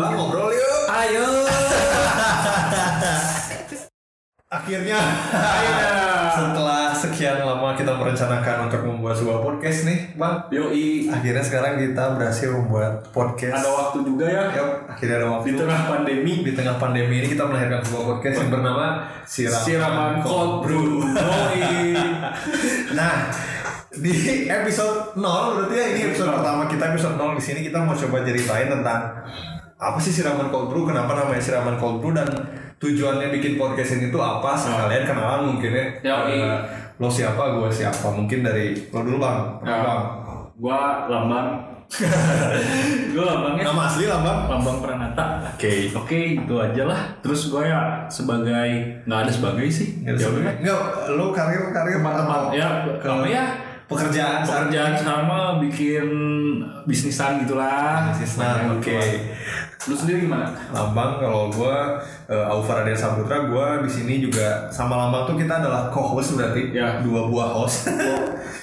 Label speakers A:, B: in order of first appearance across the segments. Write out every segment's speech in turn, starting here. A: Bang ngobrol yuk.
B: Ayo.
A: Akhirnya setelah sekian lama kita merencanakan untuk membuat sebuah podcast nih, Bang.
B: Yoi.
A: Akhirnya sekarang kita berhasil membuat podcast.
B: Ada waktu juga ya
A: Yup, akhirnya ada waktu.
B: di tengah pandemi.
A: Di tengah pandemi ini kita melahirkan sebuah podcast yang bernama Siraman,
B: Siraman cold brew. Yoi.
A: Nah, di episode 0 berarti ya ini episode pertama kita episode 0 di sini kita mau coba ceritain tentang apa sih siraman cold brew, kenapa namanya siraman cold brew dan tujuannya bikin podcast ini tuh apa? Sekalian kenalan mungkin ya.
B: Nah. Yoi.
A: Eh, Lo siapa, gue siapa? Mungkin dari lo dulu bang.
B: Ya.
A: Bang.
B: Gua Lambang. Gua Lambangnya
A: Nama asli lah bang.
B: Lambang Pranata. Oke. Oke, itu aja lah. Terus gua ya sebagai nggak ada sebagai sih. Jawabnya.
A: Enggak, lo karir karir apa?
B: Teman-teman ya, apa ya?
A: Pekerjaan. saat-
B: Pekerjaan sama bikin bisnisan gitulah.
A: Bisnisan, Nah, oke.
B: Lu sendiri gimana?
A: Lambang kalau gue uh, Aufa Raden Saputra gue di sini juga sama Lambang tuh kita adalah co-host berarti
B: Ya.
A: dua buah host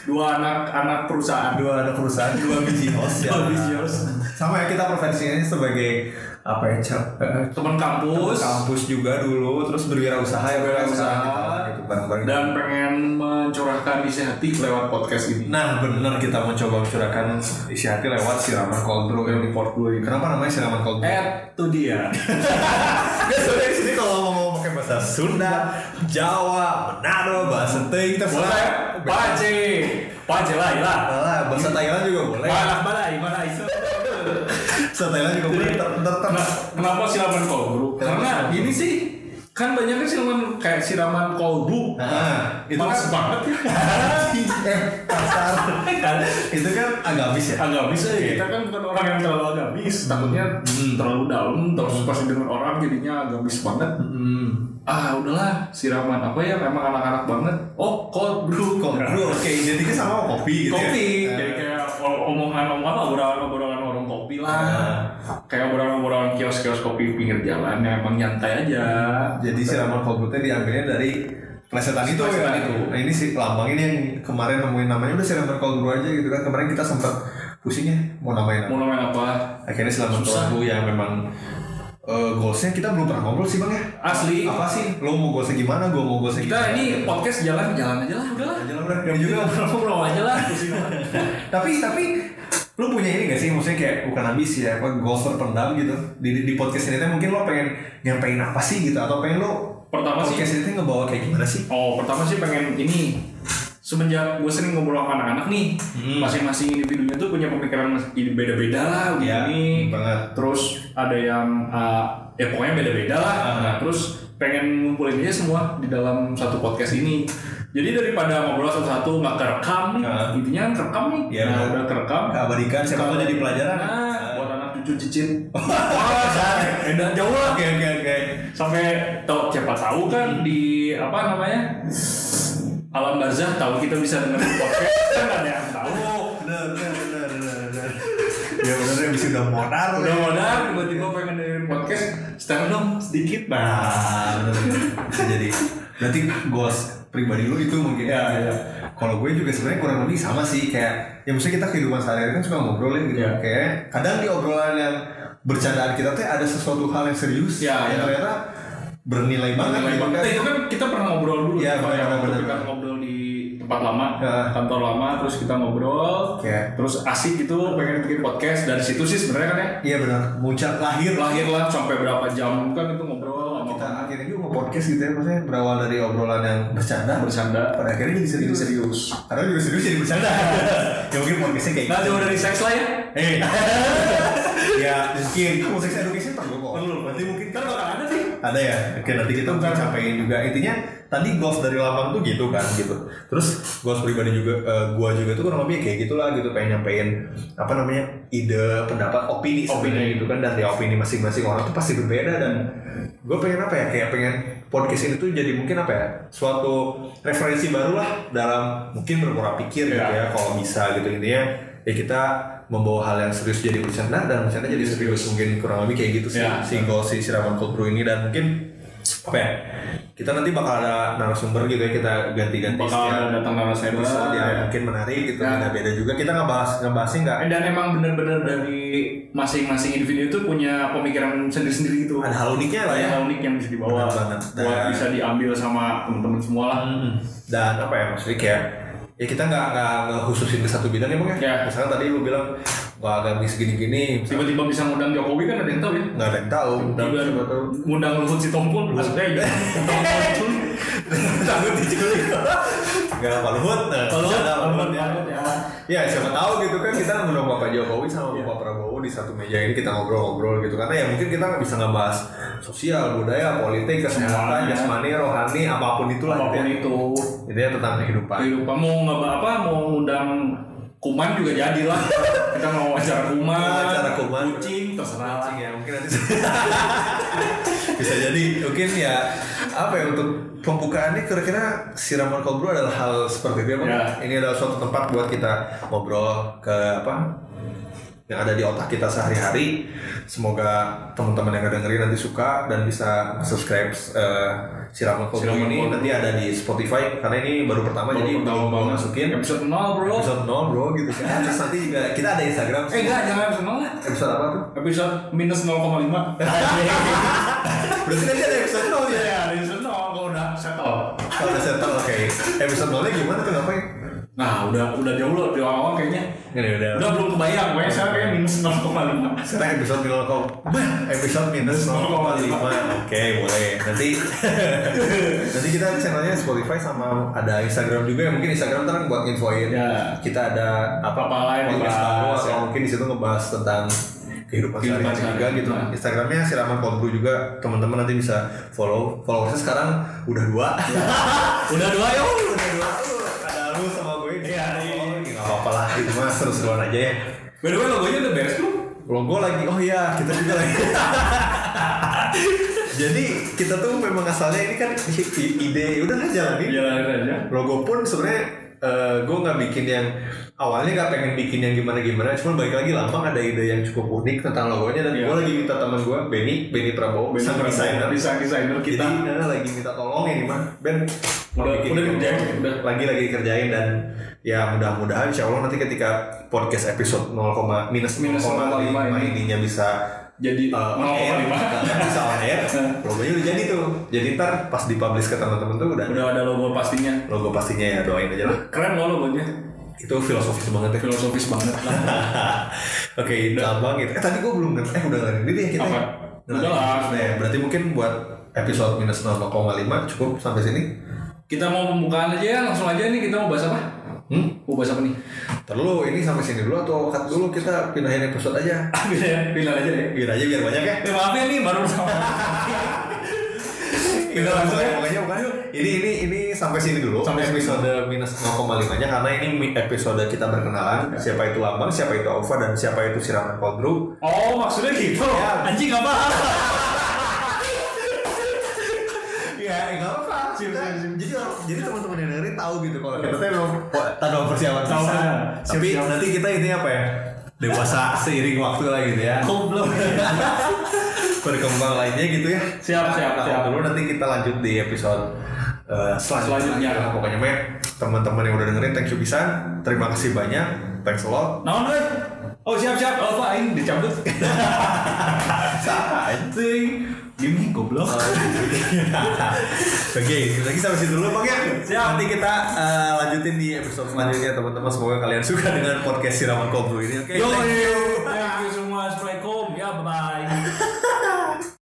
B: Dua anak-anak perusahaan.
A: dua ada perusahaan dua biji host ya
B: Dua biji host.
A: sama ya kita profesinya sebagai apa ya cel eh,
B: Teman kampus.
A: kampus juga dulu terus berwirausaha ya
B: Berwirausaha.
A: gitu bareng-bareng
B: dan pengen mencurahkan isi hati lewat podcast ini.
A: Nah bener kita mencoba mencurahkan isi hati lewat siraman cold brew yang di port gue Kenapa namanya siraman cold brew?
B: Eh, tuh dia.
A: Guys, soalnya di sini kalau mau ngomong pakai bahasa Sunda, Jawa, Manado, bahasa Teuing kita
B: Boleh.
A: Bahasa-
B: Pace. Pace lah, lah.
A: Malah bahasa Thailand juga boleh.
B: Malah, malah, malah. iso.
A: Bahasa Thailand juga boleh. Ter, ter, ter.
B: Nah, kenapa siraman cold brew?
A: Kenapa siraman
B: Karena
A: cold
B: gini sih, kan banyaknya siraman kayak siraman cold brew.
A: Nah, itu
B: Males
A: kan
B: banget ya.
A: eh kasar.
B: kan?
A: Itu kan agamis ya.
B: Agamis aja, kita kan bukan orang yang terlalu agamis Takutnya hmm, terlalu dalam, terus pasti dengan orang jadinya agamis banget
A: Hmm.
B: Ah udahlah, siraman apa ya, memang anak-anak banget Oh, cold brew
A: Cold brew, oke. Identiknya sama kopi gitu
B: kopi
A: ya.
B: jadi
A: Eh,
B: kayak omongan-omongan lah, obrolan-obrolan orang kopi lah
A: Nah.
B: kayak obrolan-obrolan kios-kios kopi pinggir jalan ya emang nyantai aja
A: Jadi siraman cold brew-nya diambilnya dari Plesetan itu,
B: Plesetan
A: ya.
B: itu.
A: Nah ini si Lambang ini yang kemarin nemuin namanya udah siraman cold brew aja gitu kan kemarin kita sempat pusing ya mau namain apa.
B: mau main apa
A: Akhirnya siraman cold
B: Susah.
A: brew yang memang eh goalsnya kita belum pernah ngobrol sih bang ya.
B: asli
A: Apa sih? Lo mau goalsnya gimana? Gue mau goalsnya
B: Iya. kita
A: gimana?
B: ini podcast jalan-jalan aja lah udahlah
A: Jalan udah yang juga
B: ngobrol aja lah
A: tapi tapi lu punya ini gak sih maksudnya kayak bukan ambisi ya apa goals terpendam gitu di di- di podcast ini teh mungkin lo pengen nyampein apa sih gitu atau pengen lo
B: pertama sih
A: podcast ini teh ngebawa kayak gimana sih
B: Oh, pertama sih pengen ini semenjak gue sering ngobrol sama anak-anak nih,
A: Hmm.
B: masing-masing individunya tuh punya pemikiran mas- beda-beda lah,
A: Iya,
B: begini.
A: banget.
B: Terus ada yang uh, ya pokoknya beda-beda lah.
A: Ah.
B: Nah, terus pengen ngumpulin aja semua di dalam satu podcast ini. Jadi daripada ngobrol satu-satu nggak kerekam nih,
A: Ah.
B: intinya kan kerekam nih.
A: Iya,
B: nah,
A: benar.
B: udah kerekam.
A: keabadikan siapa tahu jadi pelajaran
B: Nah,
A: Ah.
B: buat anak cucu cicit. Wah, sampai- eh, jauh lah
A: oke oke oke
B: sampai tahu siapa tahu kan di apa namanya alam barzah tahu kita bisa dengerin podcast kan ada yang tahu
A: Oh, bener bener bener bener bener. ya bener ya bisa udah modal
B: udah modal tiba-tiba pengen dengerin podcast stand dong sedikit
A: nah bener bener bisa jadi berarti goals pribadi lu itu mungkin ya,
B: Iya, iya.
A: kalau gue juga sebenarnya kurang lebih sama sih kayak ya maksudnya kita kehidupan sehari-hari kan suka ngobrol ya gitu
B: Iya.
A: kayak kadang di obrolan yang bercandaan kita tuh ada sesuatu hal yang serius
B: Iya,
A: yang
B: iya.
A: ternyata bernilai banget
B: Nilai
A: gitu
B: banget.
A: kan.
B: itu kan kita pernah ngobrol dulu
A: Iya,
B: ya,
A: benar,
B: waktu
A: benar,
B: kita
A: benar.
B: ngobrol di tempat lama
A: Ya.
B: kantor lama terus kita ngobrol
A: Iya.
B: terus asik gitu pengen bikin podcast dari situ sih sebenarnya kan ya
A: iya benar muncul lahir lah
B: lahir lah sampai berapa jam kan itu ngobrol
A: kita
B: sama
A: akhirnya juga podcast gitu ya maksudnya berawal dari obrolan yang bercanda
B: bercanda
A: pada akhirnya jadi
B: jadi
A: serius
B: serius
A: karena juga serius jadi bercanda ya mungkin podcastnya kayak
B: nah jauh dari seks lah ya
A: Eh, ya mungkin kamu sex education perlu kok.
B: Perlu.
A: Nanti mungkin kan
B: Ntar bakal ada sih.
A: ada ya. Oke nanti kita mungkin capein juga. Intinya tadi goals dari lapang tuh gitu kan gitu. Terus goals pribadi juga, eh, gua juga tuh kurang lebih kayak gitulah gitu pengen nyampein apa namanya ide, pendapat, opini, sebenarnya
B: Opini.
A: gitu kan dan ya opini masing-masing orang tuh pasti berbeda dan gue pengen apa ya kayak pengen podcast ini tuh jadi mungkin apa ya suatu referensi baru lah dalam mungkin berpola pikir gitu ya
B: Iya.
A: kalau bisa gitu intinya ya kita membawa hal yang serius jadi bercanda dan bercanda jadi serius mungkin kurang lebih kayak gitu sih
B: Iya.
A: si goal si siraman cold brew ini dan mungkin apa ya? Kita nanti bakal ada narasumber gitu ya kita ganti-ganti
B: bakal datang narasumber
A: episode yang mungkin menarik gitu
B: Ya.
A: beda-beda juga kita nggak bahas nggak bahasnya nggak
B: dan emang bener-bener dari masing-masing individu itu punya pemikiran sendiri-sendiri gitu
A: ada hal uniknya lah ya
B: yang unik yang bisa dibawa
A: Bener banget.
B: buat
A: Dan-
B: bisa diambil sama teman-teman semua lah
A: dan apa ya maksudnya kayak ya kita nggak nggak nggak khususin ke satu bidang ya bang ya
B: Ya.
A: misalnya tadi lu bilang wah agamis gini-gini misalnya
B: tiba-tiba bisa ngundang Jokowi kan ada yang tahu ya
A: nggak ada yang tahu
B: tiba
A: Siapa tahu.
B: ngundang Luhut Sitompul maksudnya ya ngundang Luhut.
A: takut diculik nggak apa Luhut nah,
B: Luhut,
A: bercanda, Luhut,
B: Luhut,
A: ya.
B: Luhut, ya.
A: Ya siapa tahu gitu kan kita ngundang Bapak Jokowi sama
B: Iya.
A: Bapak Prabowo di satu meja ini kita ngobrol-ngobrol gitu karena ya mungkin kita nggak bisa ngebahas sosial, budaya, politik, kesehatan,
B: Semuanya.
A: jasmani, rohani, apapun itulah gitu
B: apapun
A: ya.
B: itu
A: Jadi ya tentang kehidupan.
B: kehidupan mau nggak apa mau ngundang kuman juga jadi lah kita mau acara kuman
A: Mau acara kuman.
B: kucing terserah lah.
A: Kucing ya mungkin nanti bisa jadi mungkin ya apa ya untuk pembukaannya kira-kira siraman kobro adalah hal seperti itu ya, Bang?
B: Ya.
A: ini adalah suatu tempat buat kita ngobrol ke apa yang ada di otak kita sehari-hari semoga teman-teman yang dengerin nanti suka dan bisa subscribe eh, siraman kobro
B: Siraman
A: ini
B: Kobro.
A: nanti ada di Spotify karena ini baru pertama
B: Baru
A: jadi
B: pertama
A: belum
B: banget.
A: masukin
B: episode nol bro
A: episode nol bro gitu kan terus nanti juga kita ada Instagram
B: eh enggak jangan episode nol lah
A: episode apa tuh
B: episode minus 0,5
A: berarti nanti ada episode nol ya
B: ya Iya, episode nol kalau udah settle
A: Kalau udah settle oke. Episode nolnya gimana tuh ngapain?
B: nah udah udah jauh loh di awal-awal kayaknya
A: Ini udah.
B: udah belum kebayang pokoknya saya kayak minus 0,5
A: Sekarang episode minus kok. Episode minus 0,5. Oke, boleh. Nanti nanti kita channelnya Spotify sama ada Instagram juga ya. Mungkin Instagram ntar buat infoin.
B: Ya.
A: Nah, Kita ada apa
B: Apa lain
A: podcast baru
B: ngebahas,
A: atau
B: ya.
A: mungkin di situ ngebahas tentang kehidupan
B: Kehidupan
A: sehari-hari juga
B: sehari-hari.
A: gitu.
B: Nah.
A: Instagramnya siraman kolbru juga teman-teman nanti bisa follow. Followersnya sekarang udah dua.
B: udah dua yuk
A: udah dua tuh. Ada lu sama gue. Oh,
B: Iya, iya.
A: Nggak apa-apa lah. Itu mah seru-seruan aja ya.
B: by the way logonya udah beres belum?
A: logo lagi oh iya kita juga lagi jadi kita tuh memang asalnya ini kan i- i- ide udah lah jalanin
B: jalanin Iya, aja
A: logo pun sebenarnya gue nggak bikin yang awalnya nggak pengen bikin yang gimana gimana cuman balik lagi lambang ada ide yang cukup unik tentang logonya dan
B: Iya.
A: gue lagi minta teman gue Benny Benny Prabowo
B: Bisa
A: sang desainer
B: desain desainer
A: kita
B: kita
A: lagi minta tolong ini mah Ben
B: Udah-
A: bikin
B: udah
A: logo.
B: dikerjain, udah.
A: lagi lagi dikerjain dan ya mudah-mudahan insya Allah nanti ketika podcast episode 0, minus
B: Minus 0,5 ini.
A: ininya bisa
B: jadi eh,
A: uh,
B: oh,
A: on air.
B: 0,5
A: Nah, bisa on air logonya udah jadi tuh jadi ntar pas dipublish ke teman-teman tuh udah
B: udah ada logo pastinya
A: logo pastinya ya doain aja lah
B: keren loh logonya
A: itu filosofis banget ya
B: filosofis banget lah
A: oke lambang gitu eh tadi gue belum ngerti eh udah ngerti deh kita
B: Apa?
A: ya. Udah
B: Udah lah.
A: ngerti. Nah, ya, berarti mungkin buat episode minus 0,5 cukup sampai sini
B: kita mau pembukaan aja ya langsung aja nih kita mau bahas apa
A: hmm?
B: mau bahas apa nih
A: Terlalu ini sampai sini dulu atau cut dulu kita pindahin episode aja.
B: bisa ya final aja deh
A: Biar aja biar banyak ya.
B: ya maaf ya nih baru sama
A: Kita langsung ya pokoknya bukan. Ini ini ini sampai sini dulu.
B: Sampai sini.
A: episode minus 0,5 nya karena ini mi- episode kita berkenalan. Siapa itu Lambang, siapa itu Alfa dan siapa itu Siraman Kodru.
B: oh maksudnya gitu
A: Ya.
B: anjing nggak paham
A: Ya enggak apa-apa.
B: Sip,
A: Kita-
B: sip, sip.
A: Jadi jadi teman-teman yang dengerin tahu gitu kalau kita tuh emang tanpa persiapan
B: Tahu,
A: bisa.
B: kan? Siap,
A: Tapi
B: siap.
A: nanti kita ini apa ya? Dewasa seiring waktu lah gitu ya. berkembang lainnya gitu ya.
B: Siap, siap,
A: Nah,
B: siap.
A: Dulu nanti kita lanjut di episode uh, selanjutnya.
B: Selanjutnya.
A: Nah, Pokoknya Mek, teman-teman yang udah dengerin thank you pisan. Terima kasih banyak. Thanks a lot.
B: Nah, Noe. Oh siap siap,
A: ờ,
B: oh Pak ini dicabut. Anjing, gini goblok.
A: Oke, kita sampai situ dulu Bang ya.
B: Siap.
A: Nanti kita uh, lanjutin di episode selanjutnya teman-teman. Semoga kalian suka dengan podcast Siraman Kobru ini. Oke.
B: Yo,
A: thank you.
B: thank you semua. Assalamualaikum. Ya, bye bye.